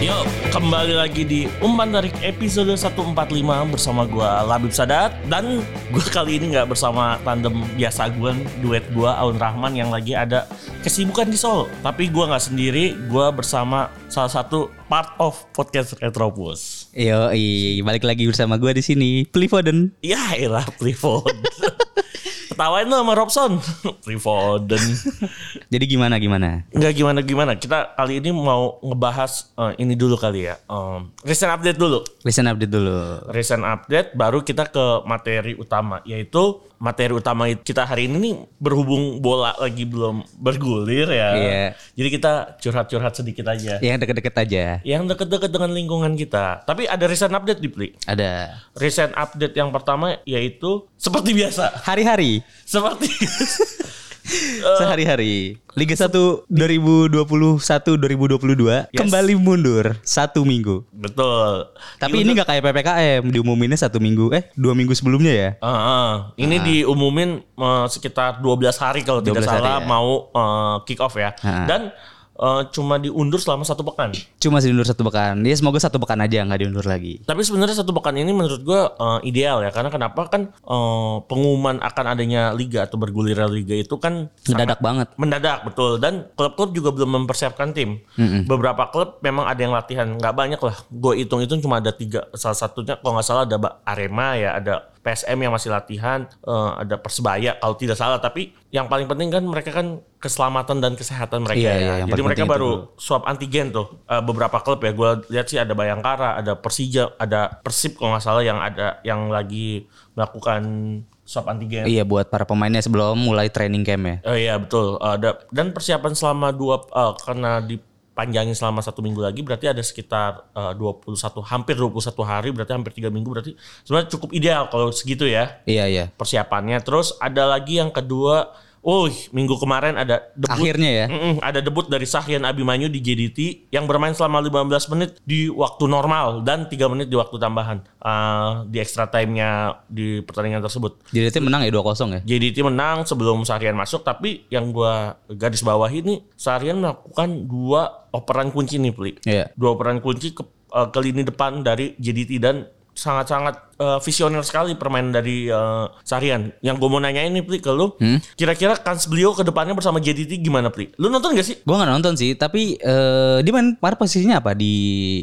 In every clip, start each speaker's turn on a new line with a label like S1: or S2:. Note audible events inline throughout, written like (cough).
S1: Yuk, kembali lagi di Umpan Tarik episode 145 bersama gua Labib Sadat dan gua kali ini nggak bersama tandem biasa gua, duet gua Aun Rahman yang lagi ada kesibukan di Solo. Tapi gua nggak sendiri, gua bersama salah satu part of podcast Retropus.
S2: Yo, balik lagi bersama gue di sini, Plivoden.
S1: Ya, era Privoden. Ketawain lo sama Robson. Privoden.
S2: Jadi gimana gimana?
S1: Nggak gimana-gimana, kita kali ini mau ngebahas eh, ini dulu kali ya. Em, recent update dulu.
S2: Listen update dulu.
S1: recent update baru kita ke materi utama yaitu materi utama kita hari ini nih berhubung bola lagi belum bergulir ya.
S2: Iya.
S1: Jadi kita curhat-curhat sedikit aja.
S2: Yang Ya, deket-deket aja.
S1: Yang deket-deket dengan lingkungan kita. Tapi ada recent update di Pli.
S2: Ada
S1: Recent update yang pertama yaitu seperti biasa. (laughs)
S2: hari-hari,
S1: Seperti (laughs)
S2: Eh. sehari-hari. Liga 1
S1: Yes.
S2: 2021-2022 kembali mundur satu minggu.
S1: betul.
S2: Tapi ini nggak kayak ppkm, diumuminnya satu minggu, eh dua minggu sebelumnya ya.
S1: Ah, ah. ini diumumin eh, sekitar 12 hari kalau tidak
S2: 12 hari,
S1: salah
S2: ya.
S1: mau eh, kick off ya.
S2: Ah.
S1: Dan eh, cuma diundur selama satu pekan.
S2: Cuma sih diundur satu pekan. Ya semoga satu pekan aja nggak diundur lagi.
S1: Tapi sebenarnya satu pekan ini menurut gue ideal ya karena kenapa kan eh, pengumuman akan adanya liga atau bergulirnya liga itu kan sangat
S2: Mendadak banget.
S1: mendadak betul dan klub-klub juga belum mempersiapkan tim. Beberapa klub memang ada yang latihan nggak banyak lah. Gue hitung-hitung cuma ada tiga salah satunya kalau nggak salah ada Ba- Arema ya ada PSM yang masih latihan eh, ada Persebaya kalau tidak salah tapi yang paling penting kan mereka kan keselamatan dan kesehatan mereka ya.
S2: Iya, iya, yang
S1: Jadi
S2: paling
S1: mereka
S2: penting itu
S1: baru swab antigen tuh Eh, beberapa klub ya gue lihat sih ada Bayangkara ada Persija ada Persib kalau nggak salah yang ada yang lagi melakukan swab antigen
S2: Iya buat para pemainnya sebelum mulai training camp ya.
S1: Oh iya betul. Ada dan persiapan selama dua eh, karena dipanjangin selama satu minggu lagi berarti ada sekitar eh, 21 hampir 21 hari berarti hampir tiga minggu berarti sebenarnya cukup ideal kalau segitu ya
S2: Iya iya.
S1: persiapannya. Terus ada lagi yang kedua, oh minggu kemarin ada debut
S2: Akhirnya ya.
S1: Mm-mm, ada debut dari Sahrian Abimanyu di GDT yang bermain selama 15 menit di waktu normal dan 3 menit di waktu tambahan eh, di extra time-nya di pertandingan tersebut.
S2: Jadi tim menang ya 2-0 ya.
S1: JDT menang sebelum Sarian masuk tapi yang gua garis bawahi nih Sarian melakukan dua operan kunci nih Pli.
S2: Iya.
S1: Dua operan kunci ke, eh, ke lini depan dari JDT dan sangat-sangat eh, visioner sekali permainan dari Sarian. Yang gue mau nanyain nih Pli ke lu, kira-kira kans beliau ke depannya bersama JDT gimana Pli? Lu nonton gak sih?
S2: Gue nggak nonton sih, tapi eh dia main par posisinya apa di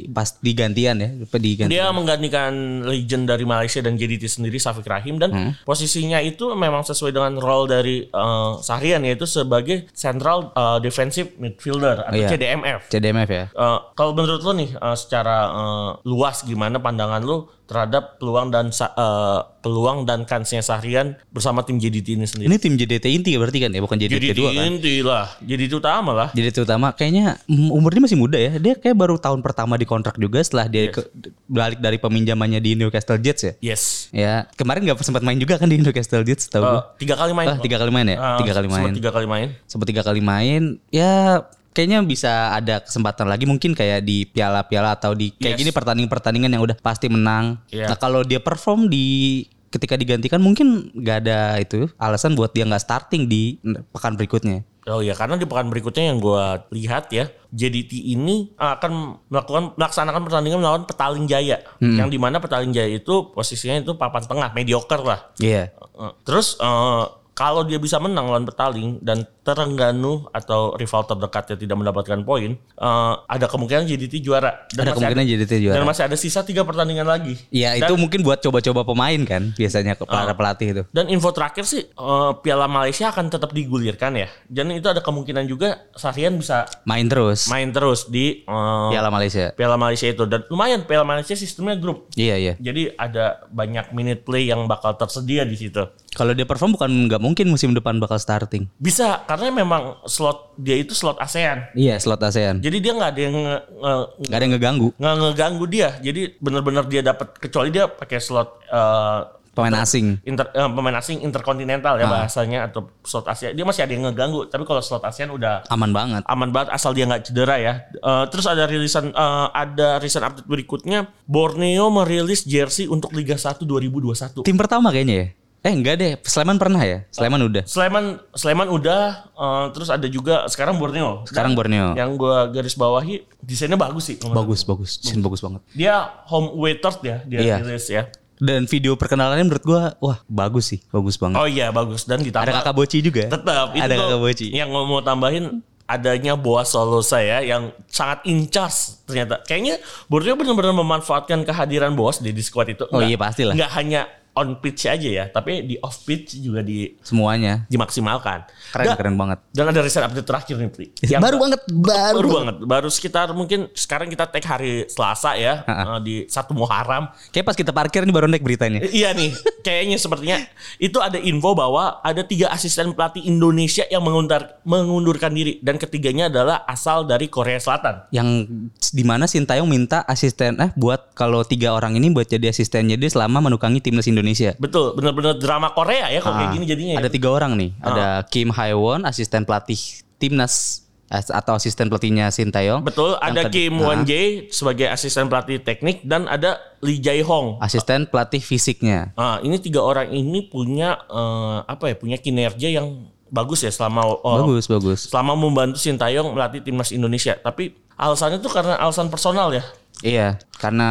S2: pas di gantian ya, apa di gantian.
S1: Dia menggantikan legend dari Malaysia dan JDT sendiri Safik Rahim dan
S2: Hmm.
S1: posisinya itu memang sesuai dengan role dari eh, Sahrian yaitu sebagai central eh, defensive midfielder atau
S2: Iya.
S1: CDMF.
S2: CDMF ya.
S1: Eh, kalau menurut lo nih eh, secara eh, luas gimana pandangan lo terhadap peluang dan sa- eh, peluang dan kansnya Sahrian bersama tim JDT ini sendiri?
S2: Ini tim JDT inti berarti kan ya, bukan JDT,
S1: JDT
S2: kedua kan.
S1: inti lah, JDT utama lah.
S2: JDT utama kayaknya mm, umurnya masih muda ya. Dia kayak baru tahun pertama di kontrak juga setelah dia ke- balik dari peminjamannya di Newcastle Jets ya.
S1: Yes.
S2: Ya, kemarin nggak sempat main juga kan di Newcastle Jets tahu
S1: Eh,
S2: gue.
S1: tiga kali main.
S2: Ah, tiga kali main ya?
S1: Eh,
S2: tiga kali
S1: sempat
S2: main.
S1: Tiga kali main.
S2: Sempat tiga kali main. Ya kayaknya bisa ada kesempatan lagi mungkin kayak di piala-piala atau di
S1: Yes.
S2: kayak gini pertandingan-pertandingan yang udah pasti menang.
S1: Iya.
S2: Nah, kalau dia perform di ketika digantikan mungkin nggak ada itu alasan buat dia nggak starting di pekan berikutnya.
S1: Oh ya, karena di pekan berikutnya yang gue lihat ya, JDT ini akan melakukan melaksanakan pertandingan melawan Petaling Jaya,
S2: Hmm.
S1: yang dimana Petaling Jaya itu posisinya itu papan tengah, mediocre lah.
S2: Iya.
S1: Eh, Terus eh, kalau dia bisa menang lawan Petaling dan Terengganu atau rival terdekatnya tidak mendapatkan poin, eh, ada kemungkinan JDT juara. Dan
S2: Ada
S1: masih
S2: kemungkinan JDT juara.
S1: Dan masih ada sisa tiga pertandingan lagi.
S2: Ya itu
S1: Dan- Oh.
S2: mungkin buat coba-coba pemain kan biasanya ke para pelatih itu.
S1: Dan info terakhir sih eh, Piala Malaysia akan tetap digulirkan ya. Dan itu ada kemungkinan juga Sahrian bisa
S2: Main terus.
S1: main terus di eh,
S2: Piala Malaysia.
S1: Piala Malaysia itu dan lumayan Piala Malaysia sistemnya grup.
S2: Iya iya.
S1: Jadi ada banyak minute play yang bakal tersedia di situ.
S2: Kalau dia perform bukan nggak mungkin musim depan bakal starting.
S1: Bisa karena memang slot dia itu slot ASEAN.
S2: Iya slot ASEAN.
S1: Jadi dia nggak ada yang nge- nge-
S2: Gak ada yang ngeganggu.
S1: nggak ngeganggu dia. Jadi benar-benar dia dapat kecuali dia pakai slot eh,
S2: pemain asing.
S1: inter- eh, pemain asing interkontinental ya
S2: Ah.
S1: bahasanya atau slot Asia dia masih ada yang ngeganggu tapi kalau slot ASEAN udah
S2: Aman banget.
S1: aman banget asal dia nggak cedera ya. Eh, terus ada rilisan eh, ada rilisan update berikutnya Borneo merilis jersey untuk Liga 1 2021.
S2: Tim pertama kayaknya ya. Eh enggak deh, Sleman pernah ya? Sleman udah.
S1: Sleman Sleman udah eh, terus ada juga sekarang Borneo.
S2: Sekarang Borneo.
S1: Yang gua garis bawahi desainnya bagus sih.
S2: Bagus, bagus. Sin bagus banget.
S1: Dia home away third ya dia
S2: Iya.
S1: rilis ya.
S2: Dan video perkenalannya menurut gua wah, bagus sih. Bagus banget.
S1: Oh iya bagus dan ditambah
S2: Ada Kakak Boci juga. ya?
S1: Tetap itu
S2: Ada
S1: tuh
S2: Kakak Boci.
S1: Yang gua Iya. mau tambahin adanya Boa Solo saya yang sangat in charge ternyata. Kayaknya Borneo benar-benar memanfaatkan kehadiran Boas di, di squad itu.
S2: Oh
S1: Nggak-
S2: iya, pastilah.
S1: Nggak hanya on pitch aja ya, tapi di off pitch juga di
S2: Semuanya.
S1: dimaksimalkan.
S2: Keren,
S1: dan,
S2: keren banget.
S1: dan ada riset update terakhir nih, Pri. Yang
S2: (laughs) baru banget, baru.
S1: baru banget, baru sekitar mungkin sekarang kita tag hari Selasa ya
S2: Ha-ha.
S1: eh, di satu Muharram.
S2: Kayak pas kita parkir nih baru naik beritanya.
S1: Eh, Iya nih, kayaknya sepertinya itu ada info bahwa ada tiga asisten pelatih Indonesia yang menguntar, mengundurkan diri dan ketiganya adalah asal dari Korea Selatan.
S2: Yang dimana Sintayong minta asisten eh buat kalau tiga orang ini buat jadi asistennya dia selama menukangi timnas Indonesia.
S1: Betul, benar-benar drama Korea ya kalau kayak
S2: Ah,
S1: gini jadinya. ya.
S2: Ada tiga orang nih. Ada Kim Haewon, asisten pelatih timnas as- atau asisten pelatihnya Sintayong.
S1: Betul, ada Kim Won
S2: Won
S1: Jae sebagai asisten pelatih teknik dan ada Lee Jae Hong.
S2: Asisten pelatih fisiknya.
S1: Ah, ini tiga orang ini punya eh, apa ya? Punya kinerja yang bagus ya selama eh,
S2: Bagus, bagus.
S1: selama membantu Sintayong melatih timnas Indonesia. Tapi alasannya tuh karena alasan personal ya.
S2: Iya, karena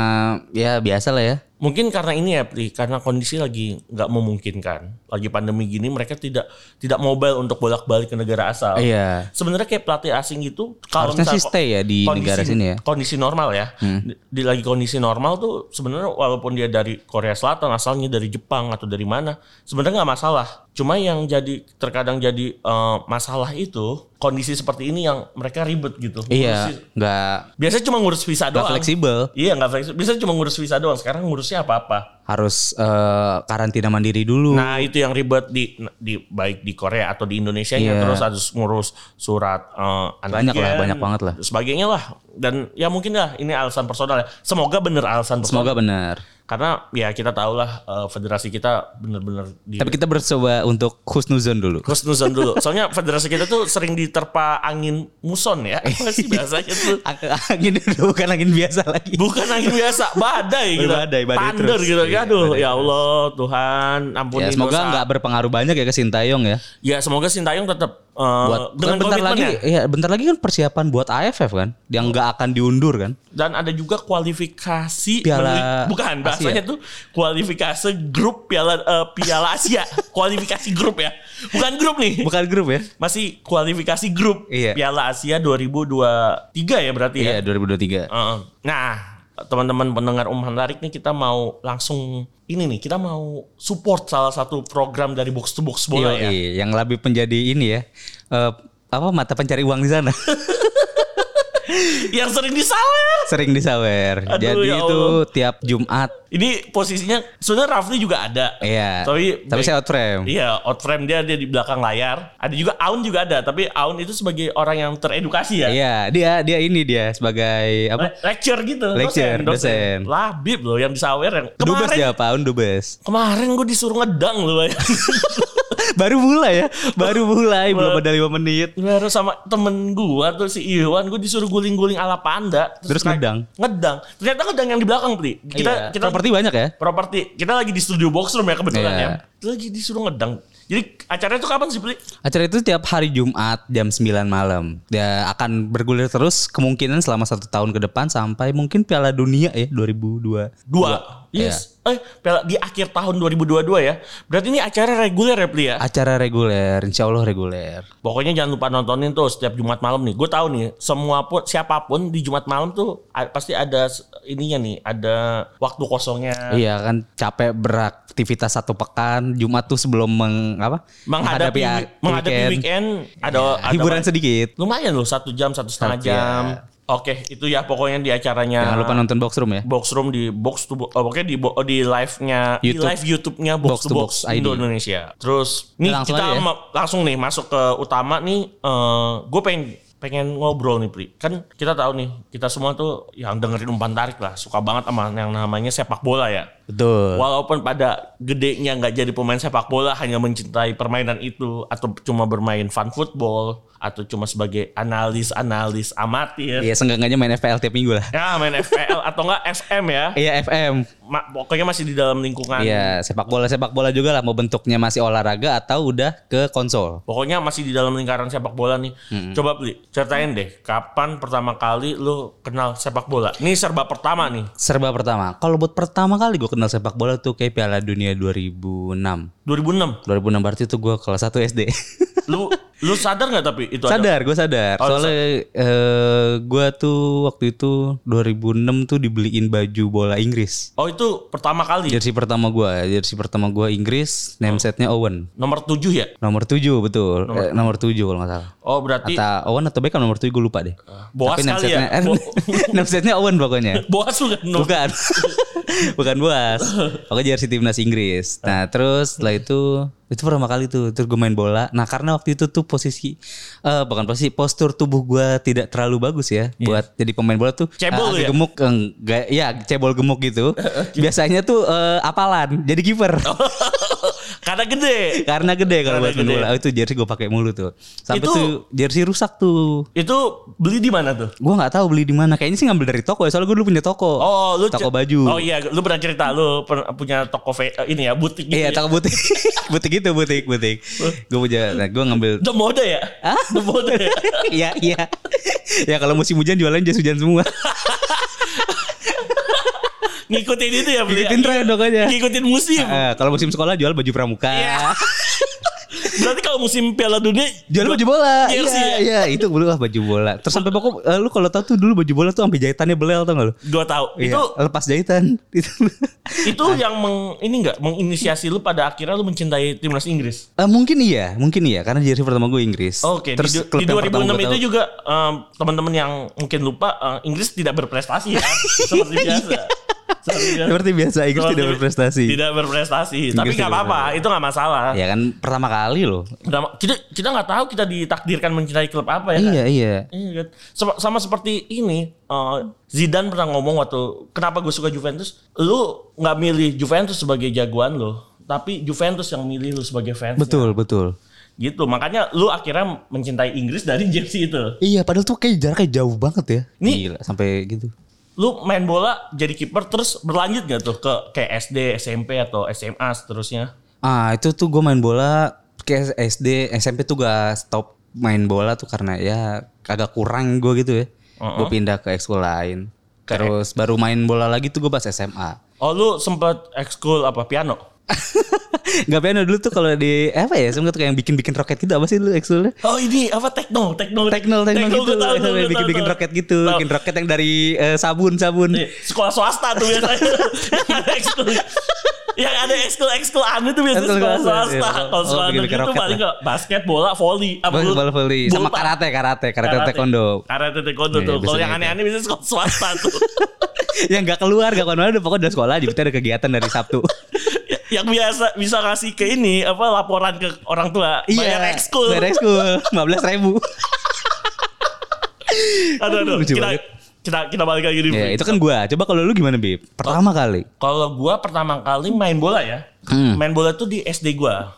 S2: ya biasa lah ya.
S1: Mungkin karena ini ya, Pri, karena kondisi lagi nggak memungkinkan. Lagi pandemi gini, mereka tidak tidak mobile untuk bolak-balik ke negara asal.
S2: Iya.
S1: Sebenarnya kayak pelatih asing itu kalau
S2: Harusnya sih
S1: misalnya
S2: stay ya di
S1: kondisi-
S2: negara sini ya. Hmm.
S1: Kondisi normal ya. Di, di lagi kondisi normal tuh sebenarnya walaupun dia dari Korea Selatan asalnya dari Jepang atau dari mana, sebenarnya nggak masalah. Cuma yang jadi terkadang jadi eh, masalah itu kondisi seperti ini yang mereka ribet gitu.
S2: Iya,
S1: Ngurusin-
S2: nggak
S1: Biasanya cuma ngurus visa
S2: nggak
S1: doang.
S2: fleksibel.
S1: Iya nggak fleksibel. Biasanya cuma ngurus visa doang. Sekarang ngurusnya apa-apa.
S2: Harus eh, karantina mandiri dulu.
S1: Nah itu yang ribet di, di baik di Korea atau di Indonesia
S2: Iya.
S1: terus harus ngurus surat eh,
S2: Banyak lah, banyak banget lah.
S1: sebagainya lah dan ya mungkin lah ini alasan personal ya semoga bener alasan personal
S2: Semoga benar.
S1: karena ya kita tahu lah eh, federasi kita bener-bener di
S2: Tapi kita bercoba untuk husnuzon
S1: (laughs)
S2: dulu.
S1: Husnuzon
S2: (laughs)
S1: dulu soalnya federasi kita tuh sering diterpa angin muson
S2: (laughs)
S1: ya apa sih bahasanya tuh
S2: angin udah bukan angin biasa lagi.
S1: bukan angin biasa badai gitu
S2: Badai, badai
S1: Thunder
S2: terus.
S1: gitu
S2: Iya,
S1: aduh
S2: badai
S1: ya Allah Tuhan ampuni
S2: Ya, semoga
S1: dosa.
S2: nggak berpengaruh banyak ya ke Sintayong ya.
S1: ya semoga Sintayong tetap eh,
S2: Buat
S1: dengan
S2: kan bentar lagi,
S1: komitmennya.
S2: ya bentar lagi kan persiapan buat AFF kan, yang nggak akan diundur kan.
S1: dan ada juga kualifikasi
S2: Piala
S1: menuju- bukan
S2: Asia.
S1: bahasanya tuh kualifikasi grup piala eh, piala
S2: (laughs)
S1: Asia kualifikasi grup ya (laughs) bukan grup nih
S2: Bukan grup ya?
S1: masih kualifikasi grup
S2: Iya.
S1: piala Asia 2023 ya berarti ya
S2: Iya 2023.
S1: Heeh. nah teman-teman pendengar umum menarik nih kita mau langsung ini nih kita mau support salah satu program dari box to box bola ya
S2: Yoi, yang lebih menjadi ini ya. eh, apa mata pencari uang di sana (laughs)
S1: yang sering disalah
S2: sering disawer.
S1: Aduh,
S2: Jadi
S1: ya
S2: itu
S1: Allah.
S2: tiap Jumat
S1: ini posisinya sebenarnya Rafli juga ada
S2: Iya.
S1: tapi
S2: Tapi
S1: baik-
S2: saya out frame.
S1: Iya, out frame dia dia di belakang layar. Ada juga Aun juga ada, tapi Aun itu sebagai orang yang teredukasi ya.
S2: Iya, dia dia ini dia sebagai apa?
S1: Le- Lecture gitu,
S2: Lecture, dosen.
S1: Labib loh yang disawer yang
S2: Dubes
S1: kemarin.
S2: dia Pak, dubes.
S1: Kemarin gue disuruh ngedang (laughs) loh.
S2: (laughs) Baru mulai ya, baru mulai belum ada lima menit.
S1: Baru sama temen gue tuh si Iwan, gue disuruh guling-guling ala panda.
S2: Terus
S1: na-
S2: ngedang.
S1: Ngedang. Ternyata ngedang yang di belakang, Pri. Kita
S2: Iya,
S1: kita
S2: properti banyak ya?
S1: properti. Kita lagi di studio box room ya kebetulan
S2: Iya.
S1: ya. Terus Lagi disuruh ngedang. Jadi acaranya tuh kapan sih, Pri?
S2: Acara itu tiap hari Jumat jam 9 malam. Ya akan bergulir terus kemungkinan selama satu tahun ke depan sampai mungkin Piala Dunia ya 2002.
S1: Dua. Yes.
S2: Iya.
S1: Eh, Piala- di akhir tahun 2022 ya. Berarti ini acara reguler ya, Pli ya?
S2: Acara reguler, insya Allah reguler.
S1: Pokoknya jangan lupa nontonin tuh setiap Jumat malam nih. Gue tahu nih, semua pun siapapun di Jumat malam tuh a- pasti ada s- ininya nih, ada waktu kosongnya.
S2: Iya kan capek beraktivitas satu pekan Jumat tuh sebelum meng, apa?
S1: Menghadapi
S2: a-
S1: menghadapi weekend, ada, ada
S2: Iya. hiburan sedikit.
S1: lumayan loh satu jam satu setengah
S2: Satu, iya.
S1: jam. Oke, itu ya pokoknya di acaranya.
S2: Jangan lupa nonton box room ya.
S1: box room di box to box oh, pokoknya di bo- di live-nya di
S2: YouTube.
S1: live YouTube-nya box, to box,
S2: ID.
S1: Indonesia. Terus nih
S2: langsung
S1: kita
S2: aja ya.
S1: ma- langsung nih masuk ke utama nih eh gue pengen pengen ngobrol nih Pri. Kan kita tahu nih, kita semua tuh yang dengerin umpan tarik lah, suka banget sama yang namanya sepak bola ya.
S2: Betul.
S1: Walaupun pada gedenya nggak jadi pemain sepak bola, hanya mencintai permainan itu, atau cuma bermain fun football, atau cuma sebagai analis-analis amatir.
S2: Iya, seenggaknya main FPL tiap minggu lah.
S1: Ya main FPL atau enggak FM ya.
S2: Iya, FM.
S1: Ma- pokoknya masih di dalam lingkungan.
S2: Iya, sepak bola sepak bola juga lah mau bentuknya masih olahraga atau udah ke konsol.
S1: Pokoknya masih di dalam lingkaran sepak bola nih. Coba beli, ceritain deh, kapan pertama kali lu kenal sepak bola? Ini serba pertama nih,
S2: Serba pertama. Kalau buat pertama kali gue kenal sepak bola tuh kayak Piala Dunia 2006.
S1: 2006.
S2: 2006 berarti tuh gue kelas 1
S1: (laughs)
S2: SD. (laughs)
S1: Lu lu sadar nggak tapi itu ada?
S2: sadar, gue sadar.
S1: Oh,
S2: Soalnya eh, gue tuh waktu itu 2006 tuh dibeliin baju bola Inggris.
S1: Oh itu pertama kali.
S2: Jersey pertama gue, jersey pertama gue Inggris,
S1: Oh.
S2: name setnya Owen.
S1: Nomor 7 ya?
S2: Nomor 7 betul. Eh, Nomor, tujuh 7 kalau nggak salah.
S1: Oh berarti
S2: Atau Owen atau Beckham nomor 7 gue lupa deh.
S1: boas
S2: Tapi name
S1: kali ya?
S2: setnya- (laughs) name setnya Owen pokoknya.
S1: boas lu kan? nomor-
S2: Bukan. (laughs) Bukan buas. Oke jersey timnas Inggris. Nah, terus setelah itu itu pertama kali tuh terus gue main bola. Nah, karena waktu itu tuh posisi eh bukan posisi postur tubuh gua tidak terlalu bagus ya buat jadi pemain bola tuh
S1: Iya. Cebol
S2: eh,
S1: lu
S2: agak
S1: ya?
S2: gemuk enggak ya cebol gemuk gitu.
S1: (laughs)
S2: Biasanya tuh eh, apalan, jadi kiper.
S1: (laughs) Karena gede.
S2: (laughs) Karena gede kalau
S1: Oh. Karena
S2: buat main
S1: gede.
S2: bola. Oh, itu jersey gue pakai mulu tuh. Sampai
S1: Itu-
S2: tuh jersey rusak tuh.
S1: Itu beli di mana tuh?
S2: Gua nggak tahu beli di mana. Kayaknya sih ngambil dari toko ya. Soalnya gue dulu punya toko.
S1: Oh, lu
S2: toko
S1: ce-
S2: baju.
S1: Oh iya, lu pernah cerita lu per- punya toko ve- eh, ini ya, butik gitu.
S2: Iya,
S1: ya.
S2: toko butik. (laughs) butik itu, butik, butik. Gue punya, nah, gue ngambil.
S1: The mode ya?
S2: (laughs)
S1: The mode ya?
S2: Iya, iya. ya kalau musim hujan jualan jas hujan
S1: (laughs)
S2: semua.
S1: Ngikutin itu ya, beli.
S2: Ngikutin tren pokoknya.
S1: Ngikutin musim.
S2: Eh, kalau musim sekolah jual baju pramuka.
S1: Iya. Berarti kalau musim Piala Dunia
S2: (laughs) Jual baju bola. Iya,
S1: Jersey
S2: iya, itu dulu lah baju bola. Terus sampai pokok eh, lu kalau tahu tuh dulu baju bola tuh sampai jahitannya belel tau gak lu?
S1: gua tahu.
S2: Iya,
S1: Itu
S2: lepas jahitan. (laughs) Itu
S1: itu yang meng, ini enggak menginisiasi lu pada akhirnya lu mencintai timnas Inggris.
S2: Eh, mungkin iya, mungkin iya karena jersey pertama gue Inggris.
S1: Oke, di,
S2: Terus
S1: du-
S2: klub
S1: di
S2: yang
S1: 2006
S2: pertama gua
S1: itu
S2: tahu-
S1: juga em, teman-teman yang mungkin lupa em, Inggris tidak berprestasi
S2: (laughs)
S1: ya seperti biasa. Seperti biasa.
S2: Iya. Seperti biasa Inggris
S1: Seperti-
S2: tidak berprestasi.
S1: Tidak berprestasi, tapi
S2: Inggris
S1: nggak
S2: tidak
S1: apa-apa, itu nggak masalah.
S2: Ya kan pertama kali loh.
S1: Nggak- Kita kita nggak tahu kita ditakdirkan mencintai klub apa ya. Iya kan?
S2: Iya, iya.
S1: Iya, kan? Sama, sama seperti ini, eh, Zidane pernah ngomong waktu kenapa gue suka Juventus. Lu nggak milih Juventus sebagai jagoan lo, tapi Juventus yang milih lu sebagai fans.
S2: Betul, betul.
S1: Gitu, makanya lu akhirnya mencintai Inggris dari (laughs) jersey itu.
S2: Iya, padahal tuh kayak jaraknya jauh banget ya.
S1: Nih.
S2: Gila, sampai gitu.
S1: Lu main bola jadi kiper terus berlanjut gak tuh ke kayak SD, SMP atau SMA seterusnya?
S2: Ah, itu tuh gue main bola kayak SD, SMP tuh gak stop main bola tuh karena ya agak kurang gue gitu ya. Gue pindah ke ekskul lain. Terus baru main bola lagi tuh gue pas (laughs) SMA.
S1: Oh lu sempet ekskul apa piano?
S2: Gak piano dulu tuh kalau di apa ya? Sebenernya tuh kayak yang bikin-bikin roket gitu apa sih lu ekskulnya?
S1: Oh ini apa tekno, tekno,
S2: Teknol, teknol gitu,
S1: gua tahu,
S2: yang
S1: gua tahu,
S2: bikin-bikin
S1: tahu.
S2: roket gitu,
S1: Tahu.
S2: bikin roket yang dari eh, sabun, sabun.
S1: Iya, sekolah swasta tuh biasanya yang ada ekskul yang ada ekskul ekskul aneh tuh biasanya
S2: Ekskul
S1: sekolah
S2: swasta,
S1: swasta
S2: iya.
S1: kalau
S2: Oh,
S1: sekolah negeri
S2: bikin-bikin
S1: tuh
S2: roket
S1: paling nggak basket bola volley apa
S2: Bola,
S1: bulu-
S2: bola volley sama
S1: bulu-
S2: karate, karate, karate, taekwondo.
S1: karate taekwondo
S2: Iya,
S1: tuh kalau
S2: biasanya
S1: yang
S2: itu.
S1: aneh-aneh biasanya sekolah swasta tuh
S2: (laughs) yang gak keluar, gak kemana-mana, pokoknya dari sekolah, jadi ada kegiatan dari (laughs) Sabtu.
S1: yang biasa bisa ngasih ke ini apa laporan ke orang tua bayar ekskul
S2: Iya. Bayar (laughs) ekskul. 15 ribu.
S1: aduh aduh
S2: Lucu
S1: kita,
S2: banget.
S1: kita kita balik lagi di
S2: ya, itu kan gua. Coba kalau lu gimana, Bib? Pertama kali.
S1: Kalau gua pertama kali main bola ya,
S2: Hmm.
S1: main bola tuh di SD gua.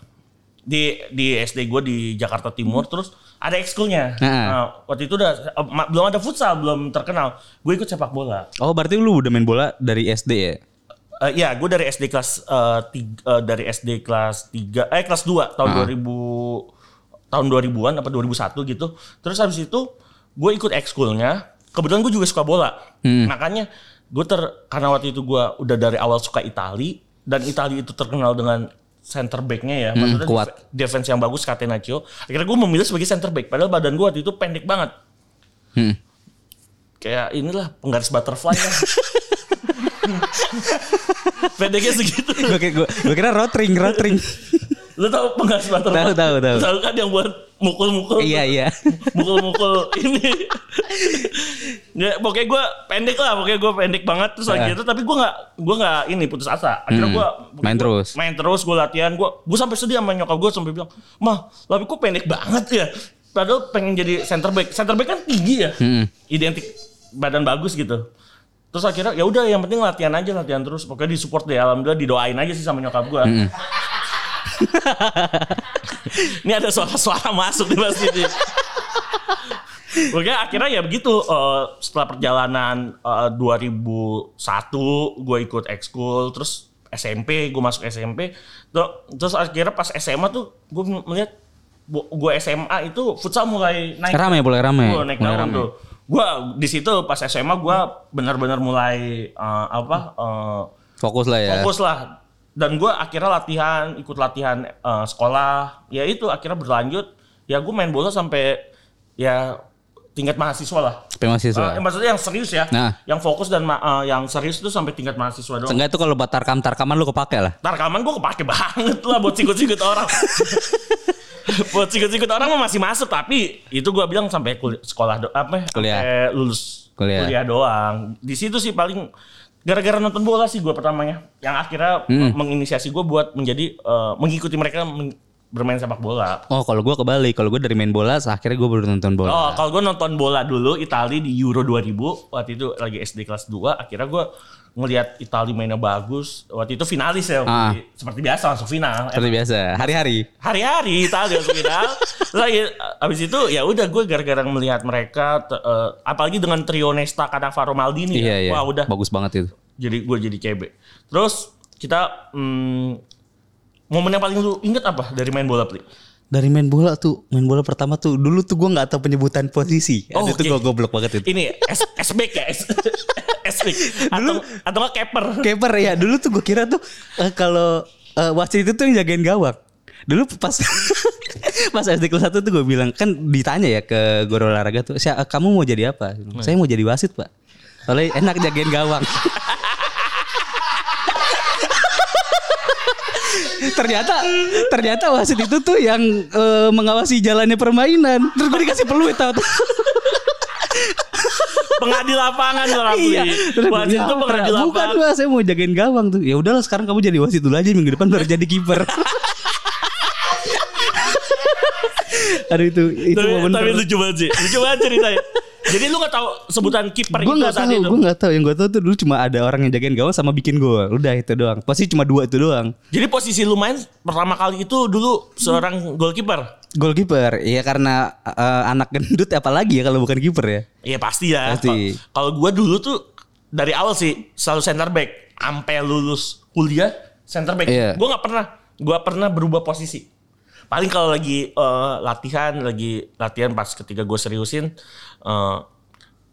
S1: Di di SD gua di Jakarta Timur terus ada ekskulnya.
S2: Heeh.
S1: Nah, waktu itu udah eh, ma- belum ada futsal, belum terkenal. Gue ikut sepak bola.
S2: Oh, berarti lu udah main bola dari SD ya?
S1: Eh, ya, gue dari SD kelas eh, tiga- eh, dari SD kelas 3 eh kelas 2 tahun 2000 tahun 2000-an apa 2001 gitu. Terus habis itu gue ikut ekskulnya. Kebetulan gue juga suka bola. Makanya gue ter karena waktu itu gue udah dari awal suka Itali dan Itali itu terkenal dengan center back-nya ya. Maksudnya
S2: kuat.
S1: def- defense yang bagus Catenaccio. Akhirnya gue memilih sebagai center back padahal badan gue waktu itu pendek banget.
S2: Hmm.
S1: Kayak inilah penggaris butterfly lah. Pendeknya segitu.
S2: (laughs) Gua kira, gua, gua kira rotring, (laughs) rotring.
S1: Lu tahu penggaris butterfly?
S2: Tahu, tahu, tahu.
S1: Tahu kan yang buat mukul-mukul.
S2: iya, iya.
S1: Mukul-mukul ini. ya, pokoknya gue pendek lah, pokoknya gue pendek banget terus akhirnya tapi gue nggak gue nggak ini putus asa. Akhirnya
S2: Iya. Hmm.
S1: gue
S2: Main terus.
S1: Main terus gue latihan, gue gue sampai sedih sama nyokap gue sampai bilang, "Mah, tapi kok pendek banget ya?" padahal pengen jadi center back. Center back kan tinggi ya.
S2: Mm-mm.
S1: Identik badan bagus gitu. Terus akhirnya ya udah yang penting latihan aja latihan terus pokoknya disupport deh alhamdulillah didoain aja sih sama nyokap gua. (laughs) Ini ada suara-suara masuk nih pasti nih. Pokoknya akhirnya ya begitu eh, setelah perjalanan eh, 2001 gue ikut ekskul terus SMP gue masuk SMP Ter- terus akhirnya pas SMA tuh gue melihat gue SMA itu futsal mulai naik
S2: Rame boleh rame.
S1: Gua naik
S2: Mulai
S1: daun
S2: rame.
S1: tuh. Gua di situ pas SMA gua benar-benar mulai eh, apa eh,
S2: Fokus lah ya.
S1: fokus lah. Dan gua akhirnya latihan, ikut latihan eh, sekolah. Ya itu akhirnya berlanjut. Ya gue main bola sampai ya tingkat mahasiswa lah.
S2: Sampai mahasiswa.
S1: Eh, maksudnya yang serius ya,
S2: Nah.
S1: yang fokus dan ma- eh, yang serius tuh sampai tingkat mahasiswa doang.
S2: Seenggaknya itu kalau buat tarkam-tarkaman lu kepake lah.
S1: Tarkaman gue kepake banget lah buat sikut-sikut
S2: (laughs)
S1: orang. buat sikut-sikut orang mah masih masuk tapi itu gua bilang sampai kuliah, sekolah do, apa ya,
S2: Kuliah.
S1: sampai lulus
S2: Kuliah.
S1: doang. Di situ sih paling gara-gara nonton bola sih gua pertamanya yang akhirnya
S2: Hmm.
S1: menginisiasi gua buat menjadi eh, mengikuti mereka men- bermain sepak bola.
S2: Oh kalau gua kebalik. Kalau gua dari main bola, akhirnya gua baru nonton bola.
S1: Oh, kalau gue nonton bola dulu Itali di Euro 2000 waktu itu lagi SD kelas 2 akhirnya gue ngelihat Itali mainnya bagus waktu itu finalis ya
S2: Ah.
S1: seperti biasa langsung final
S2: Seperti biasa. Hari-hari.
S1: hari-hari Itali masuk final. Terus lagi- abis itu ya udah gue gara-gara melihat mereka te- eh, apalagi dengan trio Nesta Cannavaro Maldini
S2: Iya,
S1: ya.
S2: iya.
S1: Wah, udah
S2: Bagus banget itu.
S1: jadi gue jadi CB. Terus kita hmm, momen yang paling lu inget apa dari main bola Pli?
S2: Dari main bola tuh, main bola pertama tuh dulu tuh gua nggak tahu penyebutan posisi.
S1: Oh,
S2: Aduh, itu
S1: oke.
S2: gua goblok banget itu.
S1: Ini S SBK ya, (laughs) S SBK atau atau nggak keeper.
S2: Keeper ya dulu tuh gue kira tuh eh, kalau eh, wasit itu tuh yang jagain gawang. Dulu pas (laughs) pas SD kelas 1 tuh gue bilang kan ditanya ya ke guru olahraga tuh, "Sya, eh, kamu mau jadi apa?" Saya mau jadi wasit, Pak. Soalnya enak jagain gawang. (laughs) ternyata ternyata wasit itu tuh yang eh, mengawasi jalannya permainan. Terus gue dikasih peluit tau
S1: Pengadi lapangan loh Rafli.
S2: Iya. Terus gua
S1: Wasit
S2: bilang,
S1: itu pengadi
S2: "Bukan, Bukan
S1: lapangan.
S2: lah, saya mau jagain gawang tuh. Ya udahlah sekarang kamu jadi wasit dulu aja minggu depan baru jadi kiper. (laughs) Aduh itu itu
S1: tapi,
S2: momen
S1: tapi lucu banget sih. Lucu banget ceritanya. Jadi lu nggak tahu sebutan kiper
S2: Gue
S1: itu
S2: gak
S1: saat
S2: tahu,
S1: itu.
S2: gue gak tahu. Yang gue tahu tuh dulu cuma ada orang yang jagain gawang sama bikin gol. Udah itu doang. Pasti cuma dua itu doang.
S1: Jadi posisi lu main pertama kali itu dulu seorang goalkeeper.
S2: Gol kiper. Iya karena eh, anak gendut apalagi ya kalau bukan kiper ya.
S1: Iya pasti ya.
S2: Pasti.
S1: Kalau- Kalau gua dulu tuh dari awal sih selalu center back. Sampai lulus kuliah center back.
S2: Iya.
S1: Gua nggak pernah gua pernah berubah posisi. Paling kalau lagi eh, latihan, lagi latihan pas ketika gue seriusin eh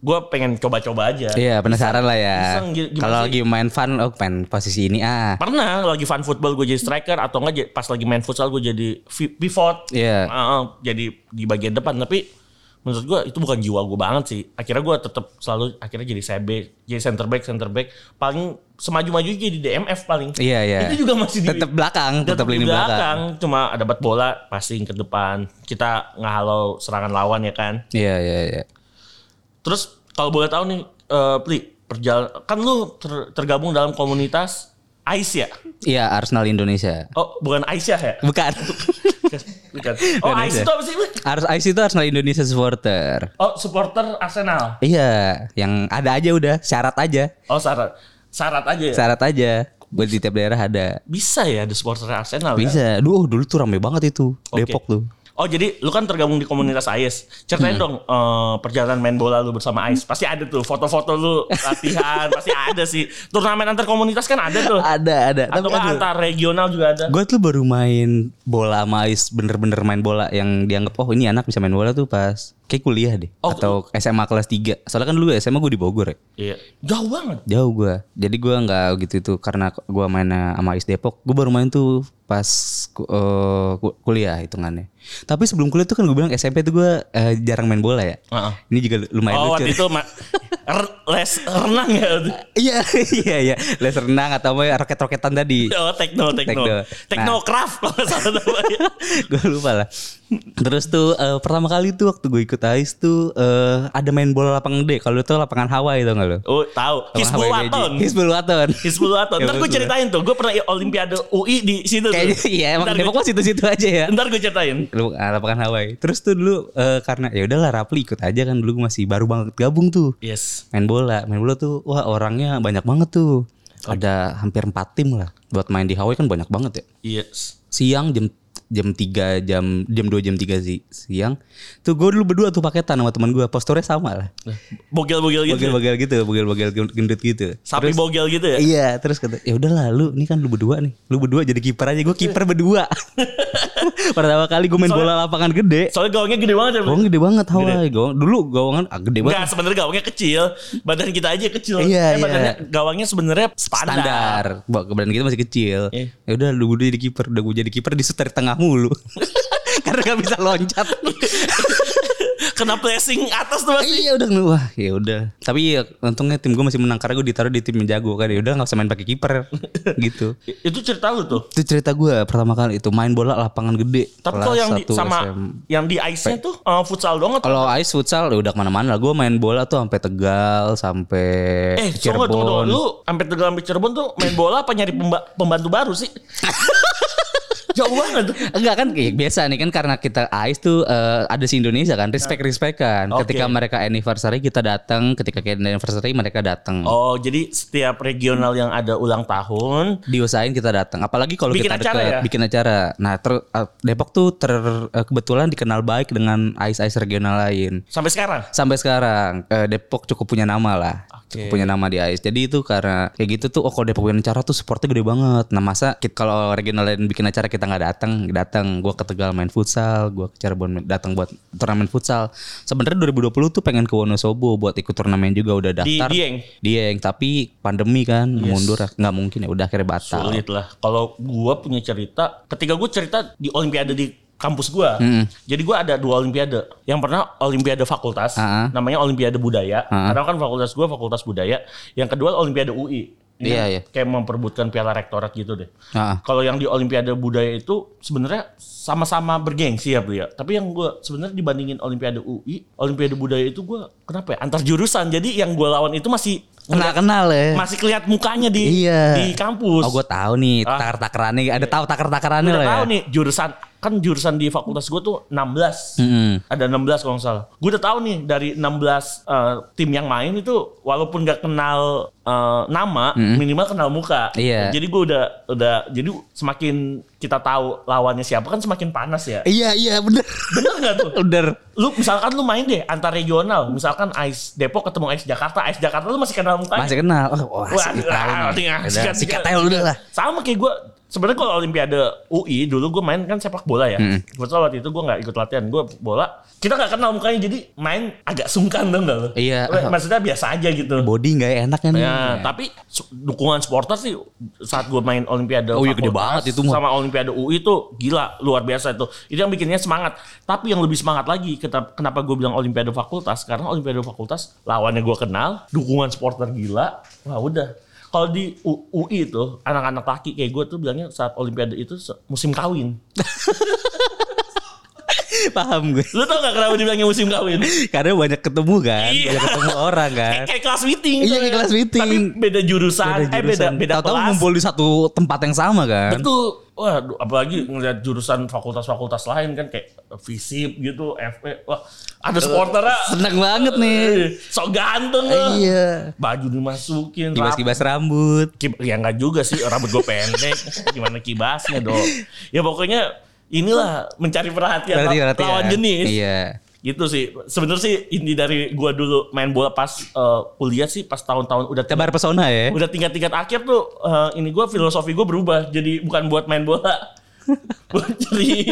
S1: gua pengen coba-coba aja.
S2: Iya penasaran lah ya.
S1: Bisa nge- gimana
S2: Kalau
S1: sih?
S2: lagi main fun, oh main posisi ini ah.
S1: Pernah lagi fun football gue jadi striker atau enggak j- pas lagi main futsal gue jadi fi- pivot.
S2: Iya.
S1: Heeh, jadi di bagian depan tapi menurut gue itu bukan jiwa gue banget sih. Akhirnya gue tetap selalu akhirnya jadi CB, jadi center back, center back. Paling semaju-maju jadi DMF paling.
S2: Iya iya.
S1: Itu juga masih di
S2: tetap belakang, tetap
S1: di
S2: lini belakang.
S1: Cuma ada bat bola passing ke depan. Kita ngehalau serangan lawan ya kan.
S2: Iya iya iya.
S1: Terus kalau boleh tahu nih eh Pli, perjalanan kan lu ter- tergabung dalam komunitas Ais ya?
S2: Iya Arsenal Indonesia.
S1: Oh, bukan Aisyah ya?
S2: Bukan.
S1: (laughs) Bukan. Oh,
S2: (laughs) Bukan
S1: Ais
S2: Aisyah.
S1: itu apa sih?
S2: Ars IC itu Arsenal Indonesia supporter.
S1: Oh, supporter Arsenal.
S2: Iya, yang ada aja udah, syarat aja.
S1: Oh, syarat syarat aja ya.
S2: Syarat aja. Buat di tiap daerah ada.
S1: Bisa ya ada supporter Arsenal. ya?
S2: Bisa. Duh, oh, dulu tuh rame banget itu.
S1: Oke.
S2: Depok tuh.
S1: Oh, jadi lu kan tergabung di komunitas Ais.
S2: Hmm.
S1: Ceritain dong eh, perjalanan main bola lu bersama Ais. Pasti ada tuh foto-foto lu latihan, pasti ada sih. Turnamen antar komunitas kan ada tuh.
S2: Ada, ada.
S1: Atau nggak antar regional juga ada.
S2: Gue tuh baru main bola sama Ais, bener-bener main bola yang dianggap oh ini anak bisa main bola tuh pas kayak kuliah deh
S1: Oh,
S2: atau SMA kelas 3. Soalnya kan dulu SMA gue di Bogor ya.
S1: Iya. Jauh banget.
S2: jauh gua jadi gua nggak gitu itu karena gua mainnya sama Ais Depok gua baru main tuh pas ku- eh, ku- kuliah hitungannya tapi sebelum kuliah tuh kan gua bilang SMP tuh gua eh, jarang main bola ya
S1: Heeh.
S2: ini juga lumayan
S1: Ah. Oh,
S2: lucu
S1: waktu itu ma- R- les renang ya?
S2: (laughs) Iya, iya, iya. Les renang atau apa, ya, roket-roketan
S1: (laughs)
S2: tadi.
S1: Oh, tekno, tekno.
S2: Tekno.
S1: Teknocraft kalau nggak
S2: Nah.
S1: salah namanya.
S2: gue lupa lah. Terus tuh eh, pertama kali tuh waktu gue ikut AIS tuh eh, ada main bola lapangan gede. Kalau itu lapangan Hawaii tau gak lo?
S1: Oh, tahu. Hizbul Waton.
S2: Hizbul Waton.
S1: Hizbul Waton. Ntar gue ceritain tuh. Gue pernah Olimpiade UI di situ tuh.
S2: Kayaknya iya emang
S1: Ntar gue,
S2: Depok mah situ-situ aja ya.
S1: ntar gue ceritain.
S2: Lu- ah, Lapangan Hawaii. Terus tuh dulu eh, karena ya udahlah Rapli ikut aja kan dulu gue masih baru banget gabung tuh.
S1: Yes.
S2: Main bola, main bola tuh wah orangnya banyak banget tuh. Ada hampir 4 tim lah. Buat main di Hawaii kan banyak banget ya.
S1: Yes.
S2: siang jam jam 3 jam jam 2 jam 3 si, siang tuh gue dulu berdua tuh paketan sama teman gue posturnya sama lah
S1: Eh, Bogel-bogel gitu.
S2: bagel-bagel gitu bagel-bagel gendut gitu
S1: Sapi bogel gitu ya.
S2: iya terus kata ya udahlah lu ini kan lu berdua nih lu berdua jadi kiper aja gue kiper berdua (laughs) pertama kali gue main bola lapangan gede
S1: Soalnya gawangnya gede banget ya.
S2: gawang gede banget Hawaii gawang dulu gawangan ah, gede banget
S1: Enggak, sebenarnya gawangnya kecil. Badan kita aja kecil.
S2: Iya,
S1: Eh,
S2: iya.
S1: badannya- Gawangnya sebenarnya standar. (laughs)
S2: standar Bah, badan kita masih kecil
S1: Iya.
S2: ya udah lu gue jadi kiper udah gue jadi kiper di dari tengah
S1: (laughs)
S2: mulu karena gak bisa loncat
S1: Kena pressing atas tuh masih.
S2: Iya udah nge- wah ya udah. Tapi ya, untungnya tim gue masih menang karena gue ditaruh di tim yang jago kan. Ya udah nggak usah main pakai
S1: (laughs)
S2: kiper gitu.
S1: Itu cerita lu tuh.
S2: Itu cerita gue pertama kali itu main bola lapangan gede.
S1: Tapi
S2: Kelas
S1: kalau yang di,
S2: satu
S1: sama
S2: SM.
S1: yang di ice-nya tuh eh, futsal doang atau?
S2: kalau ice futsal ya udah kemana-mana lah. Gue main bola tuh sampai Tegal, sampai
S1: Eh, tunggu tunggu dulu.
S2: Cirebon.
S1: Lu sampai Tegal sampai Cirebon tuh main bola apa nyari pemba- pembantu baru sih? Jauh banget. tuh.
S2: Enggak kan kayak biasa nih kan karena kita ice tuh eh, ada si Indonesia kan respect respect kan.
S1: Nah. Oke.
S2: Ketika mereka anniversary kita datang, ketika kayak anniversary mereka datang.
S1: Oh, jadi setiap regional yang ada ulang tahun
S2: diusahain kita datang. Apalagi kalau
S1: Bikin
S2: kita
S1: acara
S2: deket,
S1: ya?
S2: bikin acara. Nah, ter- uh, Depok tuh ter uh, kebetulan dikenal baik dengan ice-ice regional lain.
S1: sampai sekarang.
S2: Sampai sekarang eh, Depok cukup punya nama lah.
S1: Oke.
S2: Cukup punya nama di ice. Jadi itu karena kayak gitu tuh oh kalau Depok punya acara tuh supportnya gede banget. Nah, masa kit- kalau regional lain bikin acara kita nggak datang, datang. Gua ke Tegal main futsal, gua ke Cirebon main- datang buat turnamen futsal. Sebenarnya 2020 tuh pengen ke Wonosobo buat ikut turnamen juga udah
S1: Di
S2: daftar.
S1: Dieng.
S2: Dia yang tapi pandemi kan mundur nggak mungkin ya udah akhirnya batal.
S1: Sulit lah. Kalau gua punya cerita, ketika gua cerita di olimpiade di kampus gua.
S2: Hmm.
S1: Jadi gua ada dua olimpiade. Yang pernah olimpiade fakultas,
S2: Ah.
S1: namanya olimpiade budaya. Karena kan fakultas gua fakultas budaya. Yang kedua olimpiade UI. Ini
S2: Iya,
S1: kan
S2: iya.
S1: Kayak memperebutkan piala rektorat gitu deh.
S2: Ah.
S1: Kalau yang di olimpiade budaya itu sebenarnya sama-sama bergengsi ya, Bu ya. Tapi yang gua sebenarnya dibandingin olimpiade UI, olimpiade budaya itu gua kenapa ya? Antar jurusan. Jadi yang gua lawan itu masih
S2: Kenal kenal ya.
S1: masih kelihatan mukanya di
S2: Iya.
S1: di kampus.
S2: Oh gue tahu nih
S1: Ah.
S2: takar takarannya ada tahu takar takarannya
S1: Udah
S2: lah ya.
S1: tahu nih jurusan kan jurusan di fakultas gue tuh 16.
S2: Mm-mm.
S1: Ada 16 kalau nggak salah. Gue udah tahu nih dari 16 eh, tim yang main itu walaupun nggak kenal eh, nama, minimal kenal muka.
S2: Iya.
S1: Jadi gue udah udah jadi semakin kita tahu lawannya siapa kan semakin panas ya.
S2: Iya iya bener
S1: (laughs) Bener nggak tuh?
S2: (laughs) bener.
S1: Lu misalkan lu main deh antar regional, misalkan Ice Depok ketemu Ice Jakarta, Ice Jakarta lu masih kenal mukanya.
S2: Masih kenal. Oh, wah,
S1: Wah,
S2: asik
S1: ah,
S2: tahu nih.
S1: asik, asik,
S2: Udah,
S1: asik.
S2: Sikat aja udah lah.
S1: sama kayak gue sebenarnya kalau olimpiade UI dulu gue main kan sepak bola ya kebetulan waktu itu gue nggak ikut latihan gue bola kita nggak kenal mukanya jadi main agak sungkan dong nggak lo
S2: Iya.
S1: Eh, maksudnya biasa aja gitu
S2: Body nggak enak kan?
S1: Ya, tapi su- dukungan supporter sih saat gue main Olimpiade
S2: Oh iya, gede
S1: Fakultas
S2: banget itu mah.
S1: sama Olimpiade UI itu gila luar biasa itu. Itu yang bikinnya semangat. Tapi yang lebih semangat lagi keta- kenapa gue bilang Olimpiade Fakultas karena Olimpiade Fakultas lawannya gue kenal, dukungan supporter gila. Wah udah. Kalau di U- UI itu anak-anak laki kayak gue tuh bilangnya saat Olimpiade itu se- musim kawin.
S2: (laughs) Paham gue.
S1: Lu tau gak kenapa dibilangnya musim
S2: (laughs)
S1: kawin?
S2: Karena banyak ketemu kan,
S1: Iya.
S2: banyak ketemu orang
S1: (laughs)
S2: kan.
S1: Kayak, kayak kelas meeting.
S2: Iya, kayak kelas meeting.
S1: Tapi beda jurusan, eh beda beda
S2: Tahu-tahu
S1: kelas.
S2: ngumpul di satu tempat yang sama kan?
S1: Betul. Wah, aduh, apalagi ngeliat jurusan fakultas-fakultas lain kan kayak FISIP gitu, FE. Wah, ada supporternya.
S2: Seneng banget nih.
S1: Sok ganteng lah.
S2: Iya.
S1: Baju dimasukin. rap-
S2: Kibas-kibas rambut.
S1: kib- ya enggak juga sih, rambut gue pendek. (laughs) Gimana kibasnya dong. Ya pokoknya inilah mencari perhatian,
S2: Berarti
S1: law-
S2: berarti
S1: Iya, lawan
S2: ya.
S1: jenis.
S2: Iya.
S1: Gitu sih. Sebenarnya sih inti dari gua dulu main bola pas eh, kuliah sih pas tahun-tahun udah
S2: Tebar pesona ya.
S1: udah tingkat-tingkat akhir tuh eh, ini gue filosofi gue berubah jadi bukan buat main
S2: (laughs)
S1: bola buat jadi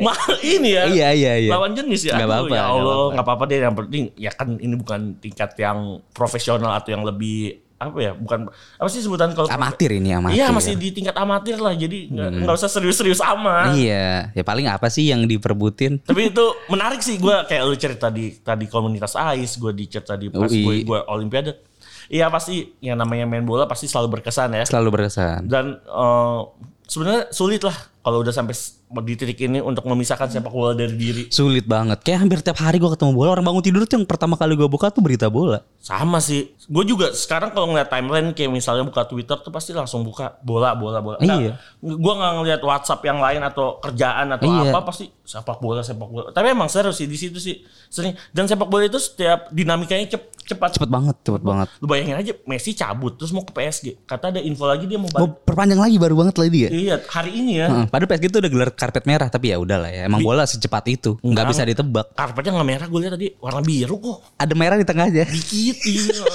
S1: Ma- ini ya
S2: Iya iya iya.
S1: lawan jenis ya
S2: Nggak
S1: Aduh, ya
S2: apa-apa, nggak
S1: Allah
S2: apa-apa.
S1: nggak apa-apa deh yang penting ya kan ini bukan tingkat yang profesional atau yang lebih apa ya bukan apa sih sebutan kalau
S2: Amatir ini amatir.
S1: Iya
S2: ya.
S1: masih di tingkat amatir lah jadi nggak nggak usah serius-serius amat.
S2: Iya, ya paling apa sih yang diperbutin?
S1: Tapi itu menarik sih gue kayak lu cerita di tadi komunitas AIS, gue di cerita di pas
S2: UI.
S1: gue gue olimpiade. Iya pasti yang namanya main bola pasti selalu berkesan ya.
S2: Selalu berkesan.
S1: Dan eh, sebenarnya sulit lah kalau udah sampai s- di titik ini untuk memisahkan sepak bola dari diri.
S2: Sulit banget. Kayak hampir tiap hari gue ketemu bola. Orang bangun tidur tuh yang pertama kali gue buka tuh berita bola.
S1: Sama sih. Gue juga sekarang kalau ngeliat timeline kayak misalnya buka Twitter tuh pasti langsung buka bola bola bola.
S2: Iya.
S1: Gue nggak ngeliat WhatsApp yang lain atau kerjaan atau
S2: Iya.
S1: apa pasti sepak bola sepak bola. Tapi emang seru sih di situ sih sering. Dan sepak bola itu setiap dinamikanya cep, cepat.
S2: Cepet banget, cepet banget.
S1: Lu bayangin aja Messi cabut terus mau ke PSG. Kata ada info lagi dia mau
S2: Mau Hmm.
S1: balik.
S2: perpanjang lagi baru banget lagi dia.
S1: Iya hari ini ya.
S2: Heeh, Padahal PSG tuh udah gelar karpet merah tapi ya udahlah ya. Emang bola secepat itu, nggak bisa ditebak.
S1: Karpetnya nggak merah gue lihat tadi warna biru kok.
S2: Ada merah di tengah aja.
S1: dikit iya.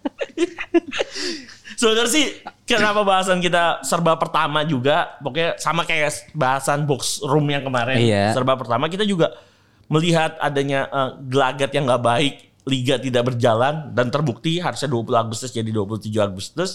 S1: (laughs) Sebenarnya sih kenapa bahasan kita serba pertama juga pokoknya sama kayak bahasan box room yang kemarin
S2: Iya.
S1: serba pertama kita juga melihat adanya eh, gelagat yang nggak baik liga tidak berjalan dan terbukti harusnya 20 Agustus jadi 27 Agustus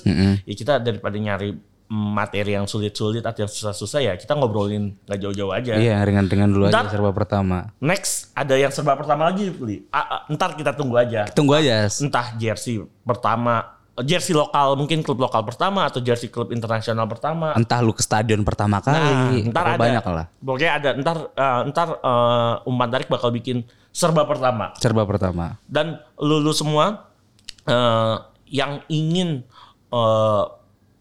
S1: ya kita daripada nyari mm, materi yang sulit-sulit atau yang susah-susah ya kita ngobrolin nggak jauh-jauh aja
S2: Iya, ringan-ringan dulu aja
S1: Ntar-
S2: serba pertama.
S1: next ada yang serba pertama lagi Li. A- a- ntar kita tunggu aja
S2: Tunggu aja.
S1: entah jersey pertama jersey lokal mungkin klub lokal pertama atau jersey klub internasional pertama Ah,
S2: Entah lu ke stadion pertama kali,
S1: ntar ada.
S2: apa iya, banyak lah.
S1: pokoknya ada ntar eh, ntar eh, umpan tarik bakal bikin serba pertama
S2: Serba pertama.
S1: dan lulu semua eh, yang ingin eh,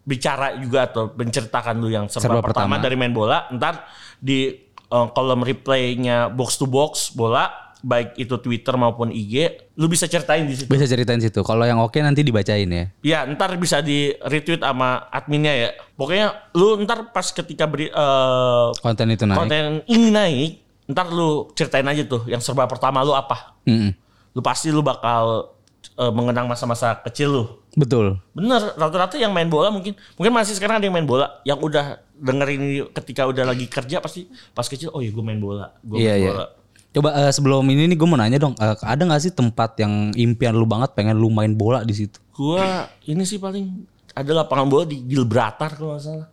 S1: bicara juga atau menceritakan lu yang serba,
S2: Serba
S1: pertama,
S2: pertama.
S1: dari main bola ntar di eh, kolom replaynya box to box bola baik itu Twitter maupun IG lu bisa ceritain di situ
S2: Bisa ceritain situ. Kalau yang oke nanti dibacain ya.
S1: Ya ntar bisa di retweet sama adminnya ya. Pokoknya lu ntar pas ketika beri, eh,
S2: Konten itu naik.
S1: konten ini naik, ntar lu ceritain aja tuh yang serba pertama lu apa.
S2: Mm-mm.
S1: Lu pasti lu bakal eh, mengenang masa-masa kecil lu.
S2: Betul.
S1: Bener, rata-rata yang main bola mungkin mungkin masih sekarang ada yang main bola yang udah dengerin ini ketika udah lagi kerja pasti pas kecil oh ya gue main bola, gue
S2: Iya
S1: main
S2: iya.
S1: bola.
S2: Coba eh, sebelum ini nih gue mau nanya dong, eh, ada nggak sih tempat yang impian lu banget pengen lu main bola di situ?
S1: Gua ini sih paling ada lapangan bola di Gilbratar kalau nggak
S2: (laughs)
S1: salah.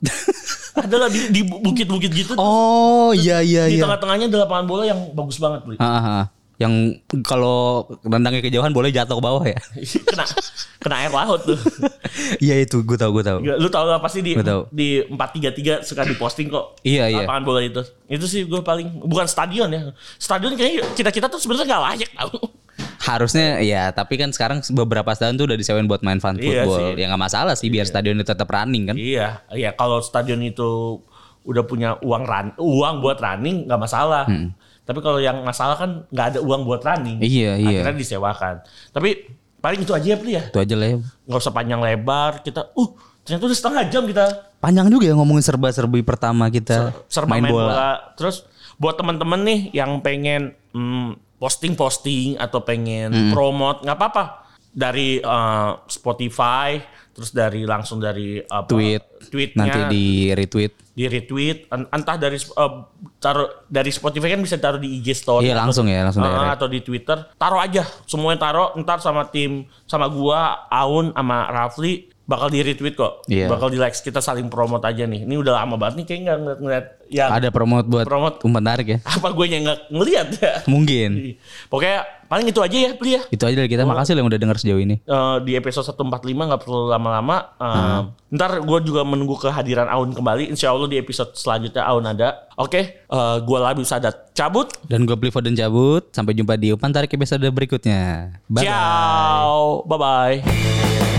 S1: Adalah di di bukit-bukit gitu
S2: Oh iya iya
S1: di tengah-tengahnya ada lapangan bola yang bagus banget
S2: (laughs)
S1: Bli.
S2: Ah, ah, ah. Yang kalau rendangnya kejauhan boleh jatuh ke bawah ya?
S1: kena kena air laut tuh.
S2: (laughs) Iya itu gue tahu gue tahu.
S1: Gila, Lu tau lah pasti di
S2: Gua tahu.
S1: di 433 suka diposting kok.
S2: Iya, iya.
S1: Lapangan bola itu. Itu sih gue paling bukan stadion ya. Stadion kayaknya kita-kita tuh sebenarnya nggak layak tau.
S2: Harusnya ya tapi kan sekarang beberapa stadion tuh udah disewain buat main fan
S1: Iya
S2: football.
S1: sih.
S2: Ya nggak masalah sih biar stadion itu tetap running kan.
S1: iya, iya kalau stadion itu udah punya uang run, uang buat running nggak masalah. Tapi kalau yang masalah kan nggak ada uang buat running.
S2: Hmm. Iya, iya.
S1: Akhirnya disewakan. Tapi paling itu aja ya Pli ya.
S2: Itu aja lah ya.
S1: Nggak usah panjang lebar. Kita uh ternyata udah setengah jam kita
S2: Panjang juga ya ngomongin serba-serbi pertama kita
S1: serba main, bola. Terus buat teman-teman nih yang pengen mm, posting-posting atau pengen promote nggak apa-apa dari eh, Spotify, terus dari langsung dari apa,
S2: Tweet.
S1: tweetnya
S2: Nanti di retweet.
S1: di retweet, en- entah dari eh, taruh dari Spotify kan bisa taruh di IG story.
S2: Iya langsung ya langsung
S1: Eh,
S2: direct.
S1: atau di Twitter taruh aja semuanya taruh ntar sama tim sama gua Aun sama Rafli bakal di retweet kok
S2: Iya.
S1: bakal di likes kita saling promote aja nih ini udah lama banget nih kayak nggak ngeliat, ngeliat ya
S2: Ada promote buat
S1: Promote.
S2: umpan tarik ya.
S1: apa gue yang nggak ngeliat ya
S2: Mungkin.
S1: pokoknya paling itu aja ya beli ya
S2: Itu aja dari kita. Makasih loh yang udah denger sejauh ini.
S1: Eh, di episode 145 nggak perlu lama-lama. Eh, Ntar gue juga menunggu kehadiran Aun kembali. Insya Allah di episode selanjutnya Aun ada. Oke, eh, gue Labi Sadat cabut.
S2: Dan gue beli Foden cabut. Sampai jumpa di umpan tarik episode berikutnya. Bye.
S1: Ciao, bye bye.